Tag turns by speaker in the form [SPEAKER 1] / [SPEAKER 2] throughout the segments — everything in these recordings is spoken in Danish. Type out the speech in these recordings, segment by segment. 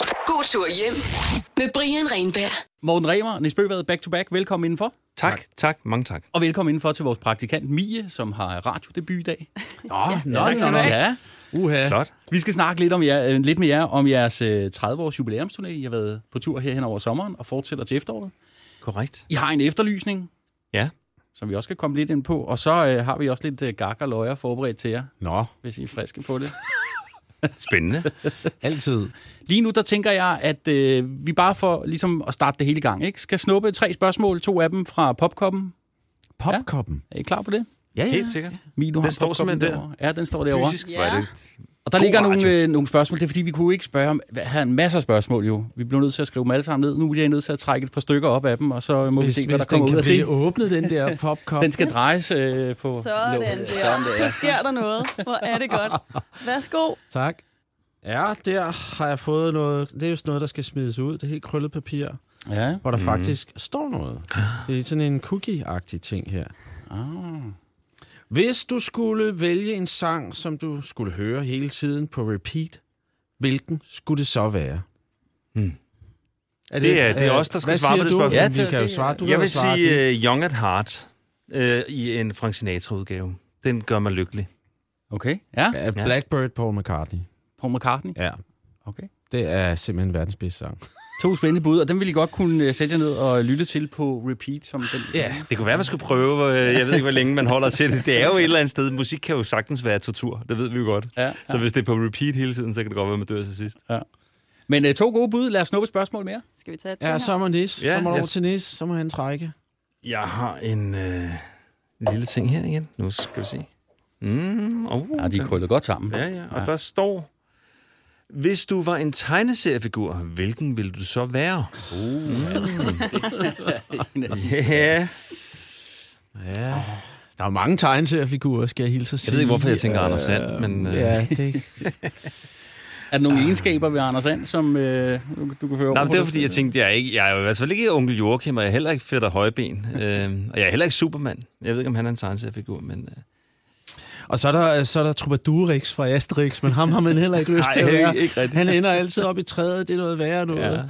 [SPEAKER 1] God tur hjem med Brian Renberg.
[SPEAKER 2] Morten Remer, Nis Bøgevad, back to back. Velkommen indenfor.
[SPEAKER 3] Tak, tak, tak mange tak.
[SPEAKER 2] Og velkommen indenfor til vores praktikant Mie, som har radiodebut i dag.
[SPEAKER 3] Nå, ja,
[SPEAKER 2] Nå, nå, nå, ja.
[SPEAKER 4] Uha.
[SPEAKER 3] Flot.
[SPEAKER 2] Vi skal snakke lidt, om jer, øh, lidt med jer om jeres øh, 30-års jubilæumsturné. I har været på tur her hen over sommeren og fortsætter til efteråret.
[SPEAKER 3] Korrekt.
[SPEAKER 2] I har en efterlysning,
[SPEAKER 3] Ja.
[SPEAKER 2] som vi også skal komme lidt ind på. Og så øh, har vi også lidt øh, gak og løjer forberedt til jer,
[SPEAKER 4] Nå,
[SPEAKER 2] hvis I er friske på det.
[SPEAKER 3] Spændende.
[SPEAKER 4] altid.
[SPEAKER 2] Lige nu, der tænker jeg, at øh, vi bare for ligesom at starte det hele i gang, ikke? skal snuppe tre spørgsmål, to af dem fra popkoppen.
[SPEAKER 4] Popkoppen.
[SPEAKER 2] Er I klar på det?
[SPEAKER 4] Ja, ja.
[SPEAKER 3] Helt sikkert.
[SPEAKER 2] Mie, du har
[SPEAKER 3] står
[SPEAKER 2] popkoppen
[SPEAKER 3] simpelthen der.
[SPEAKER 2] derovre. Ja, den står derovre.
[SPEAKER 3] Fysisk var det.
[SPEAKER 2] Og der
[SPEAKER 3] God
[SPEAKER 2] ligger nogle,
[SPEAKER 3] radio.
[SPEAKER 2] øh, nogle spørgsmål. Det er fordi, vi kunne ikke spørge om... Hvad, havde en masse af spørgsmål jo. Vi blev nødt til at skrive dem alle sammen ned. Nu er jeg nødt til at trække et par stykker op af dem, og så må
[SPEAKER 4] Hvis,
[SPEAKER 2] vi se, hvad
[SPEAKER 4] hvis
[SPEAKER 2] der
[SPEAKER 4] den
[SPEAKER 2] kommer ud
[SPEAKER 4] kan
[SPEAKER 2] af
[SPEAKER 4] blive
[SPEAKER 2] det.
[SPEAKER 4] åbnet, den der popkop.
[SPEAKER 2] Den skal drejes øh, på...
[SPEAKER 5] Sådan
[SPEAKER 2] låget.
[SPEAKER 5] der. Så sker der noget. Hvor er det godt. Værsgo.
[SPEAKER 4] Tak. Ja, der har jeg fået noget. Det er jo sådan noget, der skal smides ud. Det er helt krøllet papir,
[SPEAKER 2] Ja.
[SPEAKER 4] hvor der mm. faktisk står noget. Det er sådan en cookie-agtig ting her.
[SPEAKER 2] Ah.
[SPEAKER 4] Hvis du skulle vælge en sang, som du skulle høre hele tiden på repeat, hvilken skulle det så være?
[SPEAKER 3] Hmm.
[SPEAKER 4] Er
[SPEAKER 3] Det er- det er os, der skal
[SPEAKER 4] hvad
[SPEAKER 3] svare på
[SPEAKER 4] siger
[SPEAKER 3] det
[SPEAKER 4] du?
[SPEAKER 3] spørgsmål.
[SPEAKER 2] Ja,
[SPEAKER 4] Ja,
[SPEAKER 2] det-
[SPEAKER 4] det, kan jo
[SPEAKER 2] det-
[SPEAKER 4] svare. Du kan
[SPEAKER 3] Jeg
[SPEAKER 4] jo
[SPEAKER 3] vil
[SPEAKER 4] svare
[SPEAKER 3] sige uh, Young at Heart uh, i en Frank Sinatra-udgave. Den gør mig lykkelig.
[SPEAKER 2] Okay. Ja.
[SPEAKER 4] dit. Ja, øh, Blackbird Paul McCartney.
[SPEAKER 2] Paul McCartney.
[SPEAKER 4] Ja,
[SPEAKER 2] Okay.
[SPEAKER 4] det er simpelthen verdens bedste sang.
[SPEAKER 2] To spændende bud, og dem vil I godt kunne øh, sætte jer ned og lytte til på repeat. Som den.
[SPEAKER 4] Ja.
[SPEAKER 3] Det kunne være, man skulle prøve. øh, Jeg ved ikke, hvor længe man holder til det. Det er jo et eller andet sted. Musik kan jo sagtens være tortur. Det ved vi jo godt.
[SPEAKER 2] Ja.
[SPEAKER 3] Så hvis det er på repeat hele tiden, så kan det godt være, man dør til sidst.
[SPEAKER 2] Men øh, to gode bud. Lad os snuppe et spørgsmål mere.
[SPEAKER 5] Skal vi tage et
[SPEAKER 4] Ja, så må Nis.
[SPEAKER 3] Ja,
[SPEAKER 4] så må du
[SPEAKER 3] jeg-
[SPEAKER 4] over til Nis. Så må han trække.
[SPEAKER 3] Jeg har en øh, lille ting her igen. Nu skal vi se. Mm, oh,
[SPEAKER 2] Ja, de er krøllet godt sammen.
[SPEAKER 3] Ja, ja. Og
[SPEAKER 2] Ja.
[SPEAKER 3] ja. der står, hvis du var en tegneseriefigur, hvilken ville du så være? Ja.
[SPEAKER 4] Ja. Der er jo mange tegneseriefigurer, skal jeg hilse at sige.
[SPEAKER 3] ved ikke, hvorfor jeg tænker Anders Sand, men, øh,
[SPEAKER 4] Ja, det,
[SPEAKER 2] Er der nogle egenskaber ved Anders And, som øh, du, du kan føre over
[SPEAKER 3] Nej, men
[SPEAKER 2] på
[SPEAKER 3] det var fordi, jeg tænkte, jeg er, ikke, jeg er jo i hvert fald ikke onkel Joachim, og jeg er heller ikke fætter højben. øh, og jeg er heller ikke Superman. Jeg ved ikke, om han er en tegneseriefigur, men... Øh,
[SPEAKER 4] Og så er der, så er der Troubadourix fra Asterix, men ham har man heller ikke lyst til at
[SPEAKER 3] ikke-
[SPEAKER 4] være.
[SPEAKER 3] ikke rigtigt.
[SPEAKER 4] Han ender altid op i træet, det er noget værre noget. Ja.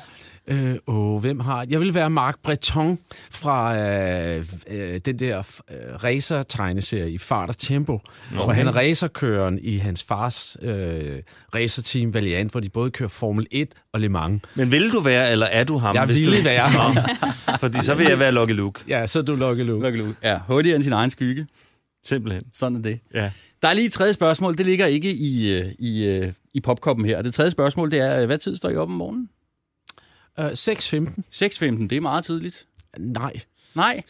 [SPEAKER 4] Øh, åh, hvem har... Jeg vil være Marc Breton fra øh, øh, den der øh, racer-tegneserie i Fart og Tempo, okay. hvor han er racerkøren i hans fars øh, racerteam Valiant, hvor de både kører Formel 1 og Le Mans.
[SPEAKER 3] Men vil du være, eller er du ham?
[SPEAKER 4] Jeg
[SPEAKER 3] hvis
[SPEAKER 4] ville
[SPEAKER 3] du...
[SPEAKER 4] være
[SPEAKER 3] Nå, fordi så vil jeg være Lucky Luke,
[SPEAKER 4] Ja, så er du Lucky Luke.
[SPEAKER 2] det. Ja, hurtigere end sin egen skygge.
[SPEAKER 3] simpelthen.
[SPEAKER 2] Sådan er det.
[SPEAKER 3] Ja.
[SPEAKER 2] Der er lige et tredje spørgsmål. Det ligger ikke i, øh, i, øh, i popkoppen her. Det tredje spørgsmål, det er, øh, hvad tid står I op om morgenen?
[SPEAKER 4] Øh, 6.15?
[SPEAKER 2] 6.15, det er meget tidligt.
[SPEAKER 4] Nej.
[SPEAKER 2] Nej.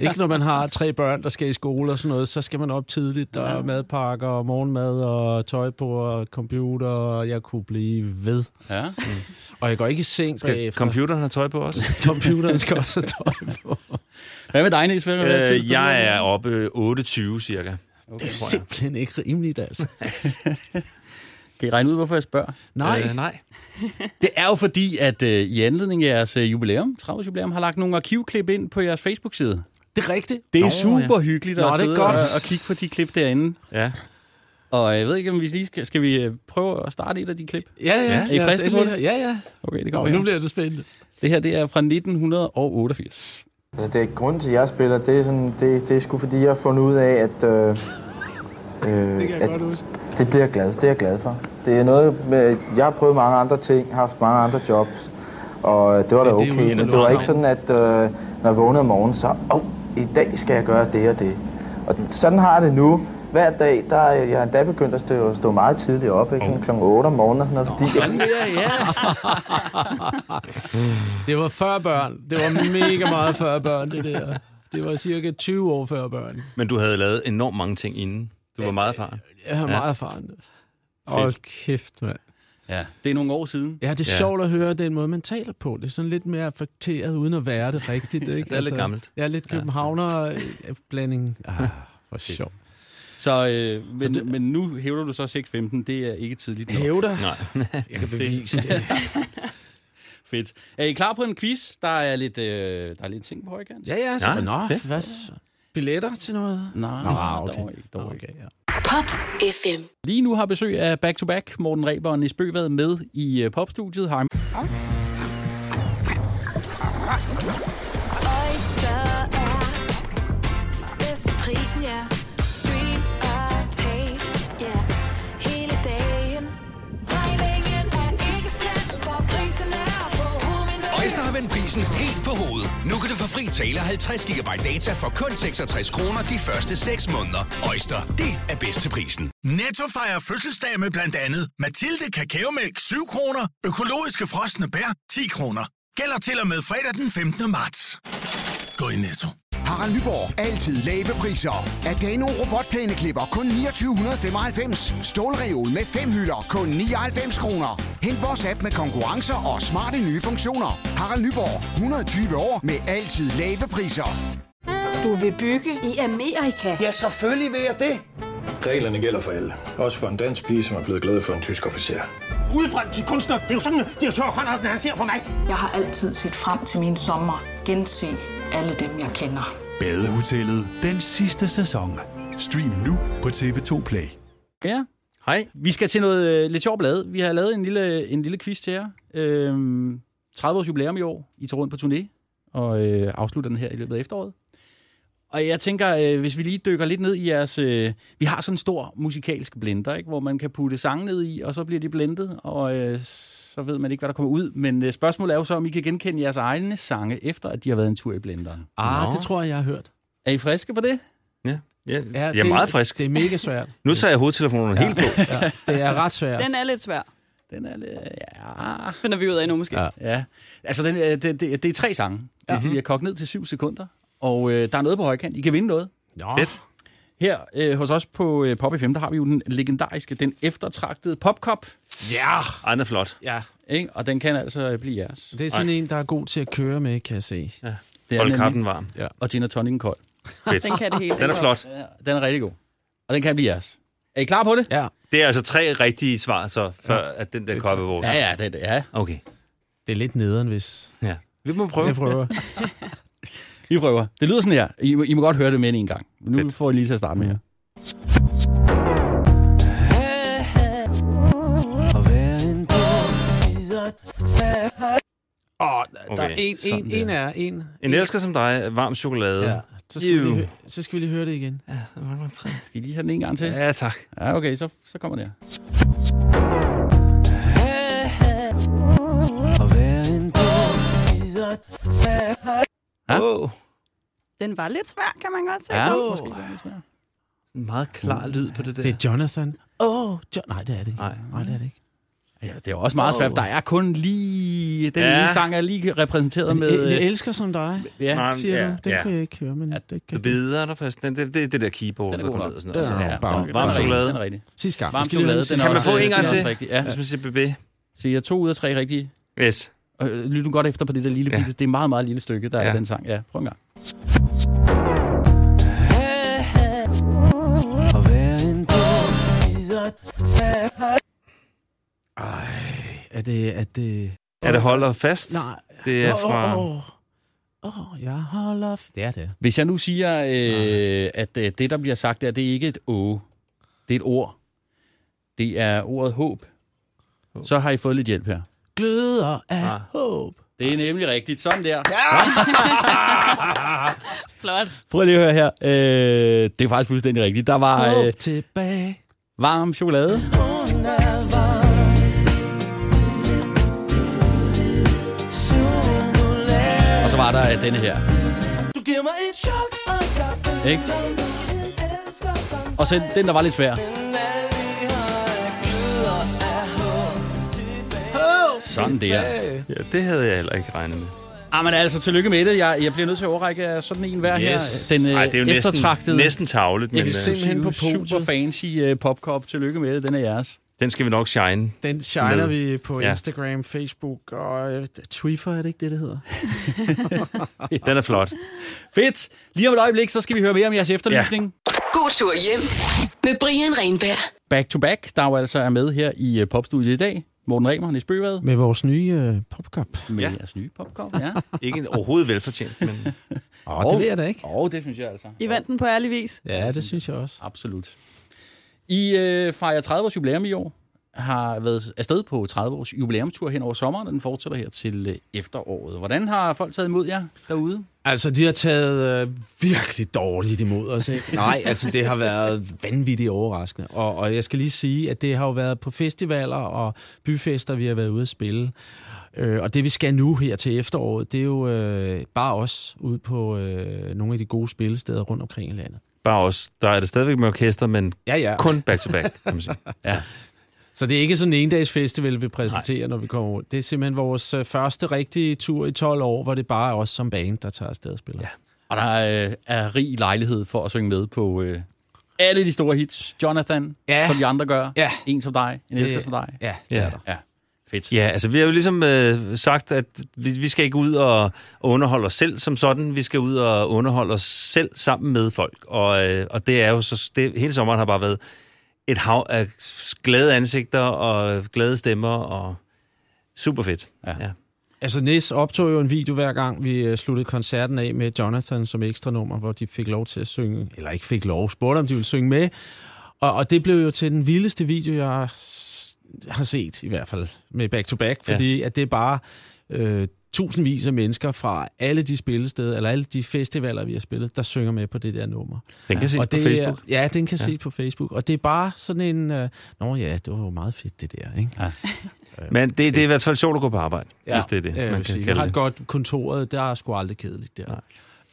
[SPEAKER 4] Ikke når man har tre børn, der skal i skole og sådan noget, så skal man op tidligt. Der er madpakker og morgenmad og tøj på og computer, og jeg kunne blive ved.
[SPEAKER 2] Ja.
[SPEAKER 4] Og jeg går ikke i seng
[SPEAKER 3] Skal
[SPEAKER 4] bagefter.
[SPEAKER 3] computeren have tøj på også?
[SPEAKER 4] Computeren skal også have tøj på.
[SPEAKER 2] Hvad med dig, Niels? Hvad, hvad tid
[SPEAKER 3] øh,
[SPEAKER 2] står du
[SPEAKER 3] jeg
[SPEAKER 2] op?
[SPEAKER 3] er oppe øh, 8.20 cirka.
[SPEAKER 4] Det er simpelthen ikke rimeligt, altså.
[SPEAKER 2] Kan I regne ud, hvorfor jeg spørger?
[SPEAKER 4] Nej,
[SPEAKER 3] Øh, nej.
[SPEAKER 2] Det er jo fordi, at øh, i anledning af jeres øh, jubilæum, 30 jubilæum, har lagt nogle arkivklip ind på jeres Facebook-side.
[SPEAKER 4] det er rigtigt.
[SPEAKER 2] Det er
[SPEAKER 3] Nå,
[SPEAKER 2] super hyggeligt
[SPEAKER 4] Nå,
[SPEAKER 2] at
[SPEAKER 4] det er
[SPEAKER 2] sidde
[SPEAKER 4] godt.
[SPEAKER 2] og, og kigge på de klip derinde.
[SPEAKER 3] Ja.
[SPEAKER 2] Og øh, jeg ved ikke, om vi lige skal, skal vi øh, prøve at starte et af de klip.
[SPEAKER 4] Ja, ja.
[SPEAKER 3] Ja,
[SPEAKER 4] ja
[SPEAKER 3] er
[SPEAKER 2] I friske på det?
[SPEAKER 4] Ja, ja.
[SPEAKER 2] Okay, det
[SPEAKER 4] Nå,
[SPEAKER 2] kommer
[SPEAKER 4] nu
[SPEAKER 2] her.
[SPEAKER 4] bliver det spændende.
[SPEAKER 2] Det her det er fra 1988.
[SPEAKER 6] Altså, det er grunden til, at jeg spiller, det er, sådan, det, det er sgu fordi, jeg har fundet ud af, at, øh, øh, det, at det bliver jeg glad. Det er jeg glad for. Det er noget med, jeg har prøvet mange andre ting, haft mange andre jobs, og det var
[SPEAKER 4] det
[SPEAKER 6] da
[SPEAKER 4] er
[SPEAKER 6] okay,
[SPEAKER 4] ude for
[SPEAKER 6] men det var
[SPEAKER 4] Lufthavn.
[SPEAKER 6] ikke sådan, at øh, når jeg vågnede om morgenen, så, åh, i dag skal jeg gøre det og det. Og sådan har jeg det nu. Hver dag, der er jeg endda begyndt at stå, stå meget tidligt op, ikke? Sådan Klokken 8 om morgenen og sådan noget, fordi jeg,
[SPEAKER 2] Ja, ja.
[SPEAKER 4] Det var før børn. Det var mega meget før børn, det der. Det var cirka 20 år før børn.
[SPEAKER 3] Men du havde lavet enormt mange ting inden. Du var meget erfaren.
[SPEAKER 4] Jeg har meget erfaren. Hold kæft, mand.
[SPEAKER 2] ja, det er nogle år siden.
[SPEAKER 4] Ja, det er
[SPEAKER 3] Ja.
[SPEAKER 4] ja. sjovt at høre den måde, man taler på. Det er sådan lidt mere affekteret, uden at være det rigtigt. Ikke? Altså,
[SPEAKER 3] lidt gammelt.
[SPEAKER 4] Ja, lidt københavner-blanding. Ah, hvor sjovt.
[SPEAKER 2] Så, øh, men, så
[SPEAKER 4] Så
[SPEAKER 2] det,
[SPEAKER 4] det-
[SPEAKER 2] men nu hævder du så 6.15. Det er ikke tidligt nok.
[SPEAKER 4] Hævder.
[SPEAKER 3] Nej.
[SPEAKER 4] Jeg kan bevise det.
[SPEAKER 2] Fedt. Er I klar på en quiz? Der er lidt, øh, der er lidt ting på højkant.
[SPEAKER 4] Ja, ja. Så,
[SPEAKER 3] Ja,
[SPEAKER 4] nå,
[SPEAKER 3] fedt.
[SPEAKER 4] hvad så? Billetter til noget?
[SPEAKER 2] Nej,
[SPEAKER 4] Nå, okay.
[SPEAKER 2] dog ikke, dog ikke.
[SPEAKER 4] okay ja.
[SPEAKER 1] Pop FM.
[SPEAKER 2] Lige nu har besøg af Back to Back, Morten Reber og Nis Bøh været med i øh, popstudiet. Hej.
[SPEAKER 7] Oyster er bedst til prisen, ja. Stream og tag, ja. Hele dagen. Regningen er ikke slem, for prisen er på hovedet.
[SPEAKER 8] Øjster har vendt prisen helt på hovedet. Nu kan du få fri tale og 50 GB data for kun 66 kroner de første 6 måneder. Øjster, det er bedst til prisen.
[SPEAKER 9] Netto fejrer fødselsdag med blandt andet Mathilde Kakaomælk 7 kroner, økologiske frosne bær 10 kroner. Gælder til og med fredag den 15. marts. Gå i Netto.
[SPEAKER 10] Harald Nyborg. Altid lave priser. Adano robotplæneklipper kun 2995. Stålreol med fem hylder kun 99 kroner. Hent vores app med konkurrencer og smarte nye funktioner. Harald Nyborg. 120 år med altid lave priser.
[SPEAKER 11] Du vil bygge i Amerika?
[SPEAKER 12] Ja, selvfølgelig vil jeg det.
[SPEAKER 13] Reglerne gælder for alle. Også for en dansk pige, som er blevet glad for en tysk officer.
[SPEAKER 14] Udbrændt til kunstner. Det er jo sådan, at de har tørt, han ser på mig.
[SPEAKER 15] Jeg har altid set frem til min sommer. Gense alle dem, jeg kender.
[SPEAKER 16] Badehotellet den sidste sæson. Stream nu på TV2 Play.
[SPEAKER 2] Ja.
[SPEAKER 3] Hej.
[SPEAKER 2] Vi skal til noget øh, lidt sjovt blad. Vi har lavet en lille, en lille quiz til jer. Øhm, 30 års jubilæum i år. I tager rundt på turné og øh, afslutter den her i løbet af efteråret. Og jeg tænker, øh, hvis vi lige dykker lidt ned i jeres... Øh, vi har sådan en stor musikalsk blender, ikke? hvor man kan putte sange ned i, og så bliver de blendet, og øh, så ved man ikke, hvad der kommer ud. Men øh, spørgsmålet er jo så, om I kan genkende jeres egne sange, efter at de har været en tur i blenderen.
[SPEAKER 4] Ah,
[SPEAKER 3] Nå.
[SPEAKER 4] det tror jeg, jeg har hørt.
[SPEAKER 2] Er I friske på det?
[SPEAKER 3] Ja. Ja, ja, jeg
[SPEAKER 4] det,
[SPEAKER 3] er meget frisk.
[SPEAKER 4] Det er mega svært.
[SPEAKER 3] Nu tager jeg hovedtelefonerne ja. helt på.
[SPEAKER 4] Det er ret svært.
[SPEAKER 5] Den er lidt svær,
[SPEAKER 2] Den er lidt... Ja.
[SPEAKER 5] finder vi ud af nu måske.
[SPEAKER 4] Ja.
[SPEAKER 5] Ja.
[SPEAKER 2] Ja, altså den, øh, det, det, det er tre sange. Ja.
[SPEAKER 3] Mhm.
[SPEAKER 2] De er kogt ned til syv sekunder, og øh, der er noget på højkant. I kan vinde noget.
[SPEAKER 4] Nå.
[SPEAKER 3] Fedt.
[SPEAKER 2] Her øh, hos os på øh, Pop 5, der har vi jo den legendariske, den eftertragtede popkop,
[SPEAKER 4] Ja.
[SPEAKER 3] Ej, den er flot.
[SPEAKER 4] ja.
[SPEAKER 2] ikke? og den kan altså øh, blive jeres.
[SPEAKER 4] Det er sådan en, der er god til at køre med, kan jeg se.
[SPEAKER 2] Det
[SPEAKER 3] Hold
[SPEAKER 2] nemlig-
[SPEAKER 3] kaffen varm.
[SPEAKER 2] Og gin og tonic kold.
[SPEAKER 3] Fedt.
[SPEAKER 5] Den kan det hele.
[SPEAKER 3] Den er flot.
[SPEAKER 2] Den er rigtig god, og den kan blive jeres. Er I klar på det?
[SPEAKER 4] Ja.
[SPEAKER 3] Det er altså tre rigtige svar, så før ja. at den der kop er vores.
[SPEAKER 2] Ja, ja, det er det. Ja.
[SPEAKER 3] Okay.
[SPEAKER 4] Det er lidt nederen, hvis...
[SPEAKER 3] Ja. Vi må prøve.
[SPEAKER 4] Jeg prøver.
[SPEAKER 2] Vi prøver. Det lyder sådan her. I, må- I må godt høre det med en gang. Nu
[SPEAKER 3] Fedt.
[SPEAKER 2] får I lige til at starte med her.
[SPEAKER 4] Åh, der er
[SPEAKER 3] Okay,
[SPEAKER 4] en, en,
[SPEAKER 2] sådan
[SPEAKER 4] en
[SPEAKER 2] der.
[SPEAKER 4] er en.
[SPEAKER 3] En elsker som dig, varm chokolade.
[SPEAKER 4] Ja. Så skal, vi lige,
[SPEAKER 3] Ew.
[SPEAKER 4] hø- så skal vi lige høre det igen.
[SPEAKER 2] Skal I lige have den en gang til?
[SPEAKER 3] Ja, tak.
[SPEAKER 2] Ja, okay, så, så kommer det her. Ja.
[SPEAKER 3] Oh,
[SPEAKER 5] Den var lidt svær, kan man godt se.
[SPEAKER 2] Ja,
[SPEAKER 5] nu.
[SPEAKER 2] måske. det er lidt svært.
[SPEAKER 3] en meget klar lyd på det der.
[SPEAKER 4] Det er Jonathan. Åh, oh, jo- nej, det er det ikke.
[SPEAKER 3] Nej.
[SPEAKER 4] nej, det er det ikke.
[SPEAKER 2] Ja, det er jo også meget svært, for der er kun lige... Den
[SPEAKER 3] Ja.
[SPEAKER 2] ja. ene sang er lige repræsenteret
[SPEAKER 4] Men,
[SPEAKER 2] med...
[SPEAKER 4] med, jeg
[SPEAKER 2] øh,
[SPEAKER 4] elsker som dig,
[SPEAKER 2] Ja,
[SPEAKER 3] Nej,
[SPEAKER 4] siger
[SPEAKER 3] ja,
[SPEAKER 4] du. Den
[SPEAKER 3] ja.
[SPEAKER 4] kunne jeg ikke høre, men ja, det
[SPEAKER 3] Det
[SPEAKER 4] kan jeg.
[SPEAKER 3] beder der fast. Den, det, det, er det der keyboard,
[SPEAKER 2] Den er
[SPEAKER 3] der
[SPEAKER 2] god
[SPEAKER 3] kommer
[SPEAKER 2] nok.
[SPEAKER 3] ned og sådan
[SPEAKER 4] Den
[SPEAKER 3] noget.
[SPEAKER 4] er
[SPEAKER 3] Sådan
[SPEAKER 4] nok.
[SPEAKER 3] her.
[SPEAKER 4] Varm-
[SPEAKER 2] den er
[SPEAKER 3] varm
[SPEAKER 2] rigtig,
[SPEAKER 3] chokolade.
[SPEAKER 2] Den er rigtig.
[SPEAKER 4] Sidste gang.
[SPEAKER 2] Varm
[SPEAKER 4] Vi skal lige høre
[SPEAKER 2] chokolade, den er
[SPEAKER 3] Kan
[SPEAKER 4] den sidste
[SPEAKER 3] man
[SPEAKER 2] også,
[SPEAKER 3] få
[SPEAKER 2] øh,
[SPEAKER 3] en
[SPEAKER 2] den
[SPEAKER 3] gang
[SPEAKER 2] er også
[SPEAKER 3] til?
[SPEAKER 2] rigtig. Ja.
[SPEAKER 3] Jeg synes, det er bebe.
[SPEAKER 2] Så jeg to ud af tre rigtige.
[SPEAKER 3] Yes.
[SPEAKER 2] Øh, Lyt nu godt efter på det der lille
[SPEAKER 3] Ja.
[SPEAKER 2] bitte. Det er meget, meget lille stykke, der er
[SPEAKER 3] Ja.
[SPEAKER 2] i den sang. Ja, prøv en gang.
[SPEAKER 4] Er det... Er det...
[SPEAKER 3] Er det holder fast?
[SPEAKER 4] Nej.
[SPEAKER 3] Det er fra...
[SPEAKER 4] Åh, oh, oh. oh, jeg holder... f- Det er det.
[SPEAKER 2] Hvis jeg nu siger, øh, at øh, det, der bliver sagt der, det er ikke et å. Det er et ord. Det er ordet håb. Så har I fået lidt hjælp her.
[SPEAKER 4] Gløder af
[SPEAKER 3] Ah.
[SPEAKER 4] ah. håb.
[SPEAKER 2] Det er nemlig rigtigt. Sådan der.
[SPEAKER 5] Flot.
[SPEAKER 2] Prøv lige at høre her. Øh, det er faktisk fuldstændig rigtigt. Der var
[SPEAKER 4] Håb
[SPEAKER 2] øh,
[SPEAKER 4] tilbage.
[SPEAKER 2] varm chokolade. Og så var der øh, denne her.
[SPEAKER 7] Du giver mig et chok, og jeg ved,
[SPEAKER 2] Ikke?
[SPEAKER 7] jeg elsker som
[SPEAKER 2] Og så den, der var lidt svær. Sådan der.
[SPEAKER 3] Ja, det havde jeg heller ikke regnet med.
[SPEAKER 2] Ah, men altså, tillykke med det. Jeg, jeg bliver nødt til at overrække jer sådan en hver
[SPEAKER 3] Yes.
[SPEAKER 2] her. Den øh,
[SPEAKER 3] Ej, det er jo næsten,
[SPEAKER 2] eftertragtede,
[SPEAKER 3] næsten tavlet, men
[SPEAKER 2] jeg kan
[SPEAKER 3] øh,
[SPEAKER 2] simpelthen på
[SPEAKER 4] på podiet.
[SPEAKER 2] super fancy øh, popkop. Tillykke med det. Den er jeres.
[SPEAKER 3] den skal vi nok shine.
[SPEAKER 4] Den shiner
[SPEAKER 3] Med.
[SPEAKER 4] vi på
[SPEAKER 3] Ja.
[SPEAKER 4] Instagram, Facebook og øh, Twitter, er det ikke det, det hedder?
[SPEAKER 3] Den er flot.
[SPEAKER 2] Fedt. Lige om et øjeblik, så skal vi høre mere om jeres efterlysning. Ja.
[SPEAKER 1] God tur hjem med Brian Renberg.
[SPEAKER 2] Back to back, der jo altså er med her i øh, popstudiet i dag. Morten Remer, Nis Bøgevad.
[SPEAKER 4] Med vores nye øh, popkop.
[SPEAKER 2] Med
[SPEAKER 3] Ja.
[SPEAKER 2] jeres nye popkop, ja.
[SPEAKER 3] Ikke en overhovedet velfortjent, men
[SPEAKER 4] Åh, oh, det ved jeg da ikke.
[SPEAKER 2] Åh, oh, det synes jeg altså.
[SPEAKER 5] I vandt den på ærlig vis.
[SPEAKER 4] Ja, det synes jeg også.
[SPEAKER 2] Absolut. I øh, fejrer 30 års jubilæum i år, har været afsted på 30 års jubilæumtur hen over sommeren, og den fortsætter her til øh, efteråret. Hvordan har folk taget imod jer derude?
[SPEAKER 4] Altså, de har taget øh, virkelig dårligt imod os, ikke? Nej, altså, det har været vanvittigt overraskende. Og, og jeg skal lige sige, at det har jo været på festivaler og byfester, vi har været ude at spille. Øh, og det, vi skal nu her til efteråret, det er jo øh, bare os ude på øh, nogle af de gode spillesteder rundt omkring i landet.
[SPEAKER 3] Bare os. Der er det stadigvæk med orkester, men
[SPEAKER 4] ja, ja.
[SPEAKER 3] kun back-to-back, kan man sige.
[SPEAKER 2] ja.
[SPEAKER 4] Så det er ikke sådan en endags festival, vi præsenterer, Nej. når vi kommer ud. Det er simpelthen vores øh, første rigtige tur i 12 år, hvor det bare er os som band, der tager afsted og spiller. Ja.
[SPEAKER 2] Og der øh, er rig lejlighed for at synge med på øh, alle de store hits. Jonathan, ja. som de andre gør.
[SPEAKER 4] Ja.
[SPEAKER 2] En som dig, en
[SPEAKER 4] Det-
[SPEAKER 2] elsker som dig.
[SPEAKER 4] ja,
[SPEAKER 3] det er der.
[SPEAKER 2] Ja. Fedt.
[SPEAKER 3] Ja, altså vi har jo ligesom øh, sagt, at vi, vi skal ikke ud og, og underholde os selv som sådan. Vi skal ud og underholde os selv sammen med folk. Og, øh, og det er jo så... Det, hele sommeren har bare været et hav af glade ansigter og glade stemmer og super fedt. Ja. ja.
[SPEAKER 4] Altså, Nis optog jo en video hver gang, vi øh, sluttede koncerten af med Jonathan som ekstra nummer, hvor de fik lov til at synge, eller ikke fik lov, spurgte om de ville synge med. Og, og det blev jo til den vildeste video, jeg har s- har set, i hvert fald med Back to Back,
[SPEAKER 3] Ja.
[SPEAKER 4] fordi at det er bare øh, tusindvis af mennesker fra alle de spillesteder, eller alle de festivaler, vi har spillet, der synger med på det der nummer.
[SPEAKER 3] Den kan
[SPEAKER 4] Ja.
[SPEAKER 3] ses
[SPEAKER 4] og
[SPEAKER 3] på
[SPEAKER 4] det er-
[SPEAKER 3] Facebook.
[SPEAKER 4] Ja, den kan
[SPEAKER 3] Ja.
[SPEAKER 4] ja. ses på Facebook. Og det er bare sådan en... Øh, Nå ja, det var jo meget fedt, det der, ikke?
[SPEAKER 2] Ja.
[SPEAKER 3] Men det, det er i hvert fald sjovt at gå på arbejde, ja. hvis det er det,
[SPEAKER 4] øh,
[SPEAKER 3] man
[SPEAKER 4] vil sige.
[SPEAKER 3] kan
[SPEAKER 4] Vi har
[SPEAKER 3] kalde
[SPEAKER 4] et
[SPEAKER 3] det.
[SPEAKER 4] godt kontoret, der er sgu aldrig kedeligt der. Nej.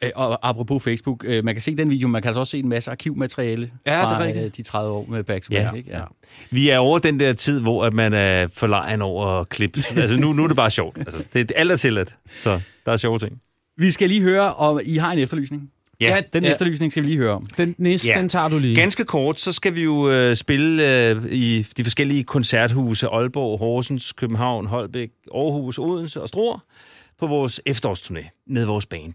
[SPEAKER 2] Øh, Og apropos Facebook, øh, man kan se den video, man kan altså også se en masse arkivmateriale
[SPEAKER 4] Ja, det er
[SPEAKER 2] fra
[SPEAKER 4] rigtigt.
[SPEAKER 2] øh, de 30 år med Back to
[SPEAKER 3] Ja.
[SPEAKER 2] Back. Ikke? Ja.
[SPEAKER 3] Vi er over den der tid, hvor at man er forlegen over klip. Altså nu, nu er det bare sjovt. Altså, det, alt er tilladt, så der er sjove ting.
[SPEAKER 2] Vi skal lige høre, om I har en efterlysning.
[SPEAKER 3] Ja.
[SPEAKER 2] Den
[SPEAKER 3] Ja.
[SPEAKER 2] efterlysning skal vi lige høre om.
[SPEAKER 4] Den næste,
[SPEAKER 3] Ja.
[SPEAKER 4] den tager du lige.
[SPEAKER 3] Ganske kort, så skal vi jo øh, spille øh, i de forskellige koncerthuse. Aalborg, Horsens, København, Holbæk, Aarhus, Odense og Struer på vores efterårsturné med vores band.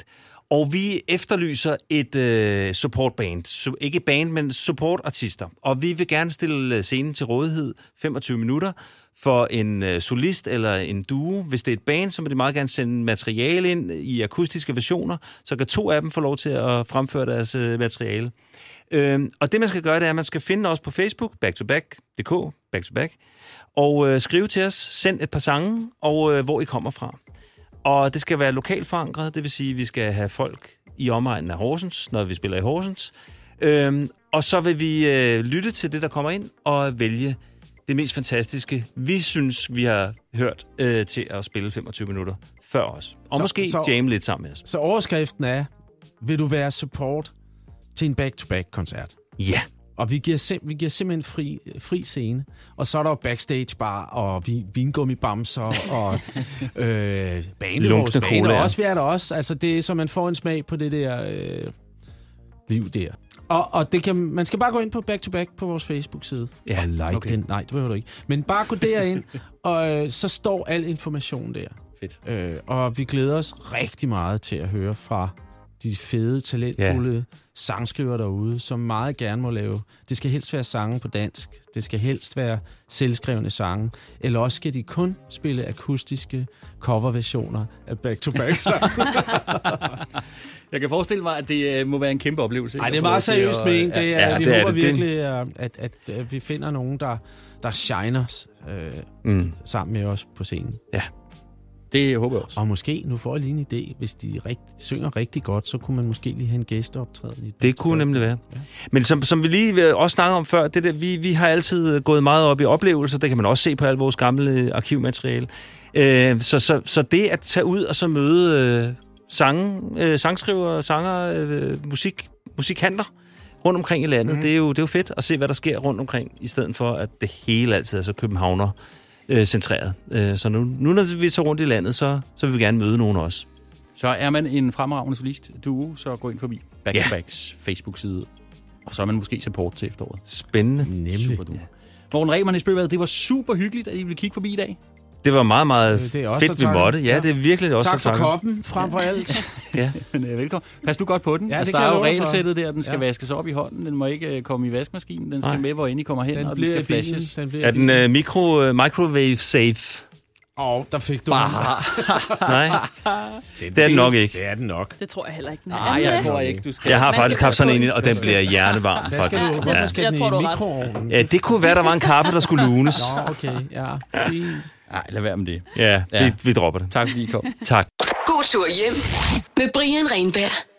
[SPEAKER 3] Og vi efterlyser et øh, supportband. Su- ikke band, men supportartister. Og vi vil gerne stille øh, scenen til rådighed 25 minutter for en øh, solist eller en duo. Hvis det er et band, så må de meget gerne sende materiale ind i akustiske versioner, så kan to af dem få lov til at fremføre deres øh, materiale. Øhm, og det, man skal gøre, det er, at man skal finde os på Facebook, backtoback.dk, backtoback, og øh, skrive til os, send et par sange, og øh, hvor I kommer fra. Og det skal være lokalt forankret, det vil sige, at vi skal have folk i omegnen af Horsens, når vi spiller i Horsens. Øhm, og så vil vi øh, lytte til det, der kommer ind, og vælge det mest fantastiske, vi synes, vi har hørt øh, til at spille 25 minutter før os. Og så,
[SPEAKER 4] Så-
[SPEAKER 3] måske
[SPEAKER 4] så-
[SPEAKER 3] så... jamme lidt sammen med os.
[SPEAKER 4] Så overskriften er, vil du være support til en back-to-back-koncert?
[SPEAKER 3] Ja.
[SPEAKER 4] Og vi giver, sim- vi giver simpelthen fri, fri scene. Og så er der jo backstage bar og vi- vingummibamser og øh, banelås.
[SPEAKER 3] Lunkne
[SPEAKER 4] Bane
[SPEAKER 3] colaer.
[SPEAKER 4] også, vi er der også. Altså, det er, så man får en smag på det der øh, liv der. Og, og det kan, man skal bare gå ind på back-to-back på vores Facebook-side.
[SPEAKER 3] Ja,
[SPEAKER 4] og like
[SPEAKER 3] okay.
[SPEAKER 4] den. Nej, det behøver du ikke. Men bare gå derind, og øh, så står al information der.
[SPEAKER 2] Fedt.
[SPEAKER 4] Øh, og vi glæder os rigtig meget til at høre fra de fede, talentfulde yeah. sangskriver derude, som meget gerne må lave. Det skal helst være sange på dansk. Det skal helst være selvskrevne sange. Eller også skal de kun spille akustiske coverversioner af Back to Back.
[SPEAKER 2] Jeg kan forestille mig, at det øh, må være en kæmpe oplevelse.
[SPEAKER 4] Nej,
[SPEAKER 2] ikke?
[SPEAKER 4] det er
[SPEAKER 2] At få lov til
[SPEAKER 4] meget seriøst
[SPEAKER 2] at-
[SPEAKER 4] ment. Det er, ja, vi det håber er
[SPEAKER 3] Det-
[SPEAKER 4] det. virkelig, øh, at, at, at vi finder nogen, der, der shiner øh,
[SPEAKER 3] Mm.
[SPEAKER 4] mm. sammen med os på scenen.
[SPEAKER 3] Ja.
[SPEAKER 2] Det håber jeg også.
[SPEAKER 4] Og måske, nu får jeg lige en idé, hvis de rigt, synger rigtig godt, så kunne man måske lige have en gæsteoptræden i
[SPEAKER 3] Det kunne nemlig være. Men som, som vi lige øh, også snakkede om før, det der, vi, vi har altid øh, gået meget op i oplevelser. Det kan man også se på alt vores gamle øh, arkivmateriale. Øh, så, så, så det at tage ud og så møde øh, sange, øh, sangskrivere, sanger, øh, musik, musikanter rundt omkring i landet, mm. det, er jo, det er jo fedt at se, hvad der sker rundt omkring, i stedet for, at det hele altid er så københavner øh, centreret. Øh, så nu, nu, når vi så rundt i landet, så, så vil vi gerne møde nogen også.
[SPEAKER 2] Så er man en fremragende solist duo, så gå ind forbi Back
[SPEAKER 3] Ja.
[SPEAKER 2] to Backs Facebook-side. Og så er man måske support til efteråret.
[SPEAKER 3] Spændende.
[SPEAKER 4] Nemlig.
[SPEAKER 2] Super duper. Morten Rehmann i Spilbad, det var super hyggeligt, at I ville kigge forbi i dag.
[SPEAKER 3] Det var meget, meget
[SPEAKER 4] Det er os, der
[SPEAKER 3] fedt, vi
[SPEAKER 4] takker.
[SPEAKER 3] måtte. Ja,
[SPEAKER 4] Ja.
[SPEAKER 3] det er virkelig også
[SPEAKER 4] Tak for koppen, frem for alt.
[SPEAKER 3] Ja.
[SPEAKER 2] Men, øh, velkommen. Pas nu godt på den.
[SPEAKER 4] Ja,
[SPEAKER 2] altså, der
[SPEAKER 4] det kan
[SPEAKER 2] er
[SPEAKER 4] jeg
[SPEAKER 2] jo
[SPEAKER 4] love dig for.
[SPEAKER 2] regelsættet der, den skal
[SPEAKER 4] Ja.
[SPEAKER 2] ja. vaskes op i hånden, den må ikke øh, komme i vaskemaskinen, den skal
[SPEAKER 3] Nej.
[SPEAKER 2] med, hvor end I kommer hen,
[SPEAKER 4] Den
[SPEAKER 2] og den
[SPEAKER 4] bliver
[SPEAKER 2] skal
[SPEAKER 4] i bilen.
[SPEAKER 2] flashes.
[SPEAKER 4] Den bliver
[SPEAKER 3] Er den øh, mikro, øh, microwave safe?
[SPEAKER 4] Og der fik du
[SPEAKER 3] Nej. Det er den nok ikke.
[SPEAKER 4] Det er den nok.
[SPEAKER 5] Det tror jeg heller ikke. den er.
[SPEAKER 2] Nej, jeg tror ikke, du skal.
[SPEAKER 3] Jeg har
[SPEAKER 5] Man
[SPEAKER 3] faktisk
[SPEAKER 5] skal
[SPEAKER 3] haft sådan
[SPEAKER 5] passe
[SPEAKER 3] en,
[SPEAKER 5] på.
[SPEAKER 3] og den bliver hjernevarm,
[SPEAKER 4] Hvad skal
[SPEAKER 3] faktisk.
[SPEAKER 4] du- hvorfor
[SPEAKER 3] Ja.
[SPEAKER 4] skal
[SPEAKER 5] Jeg
[SPEAKER 4] den
[SPEAKER 5] tror,
[SPEAKER 4] i
[SPEAKER 5] du har ret.
[SPEAKER 4] mikroovnen?
[SPEAKER 3] Ja, det kunne være, der var en kaffe, der skulle lunes.
[SPEAKER 4] Nå, okay, ja. Fint.
[SPEAKER 2] Nej, lad være med det.
[SPEAKER 3] Ja, vi, vi dropper det.
[SPEAKER 2] Tak fordi I kom.
[SPEAKER 3] Tak.
[SPEAKER 1] God tur hjem med Brian Renberg.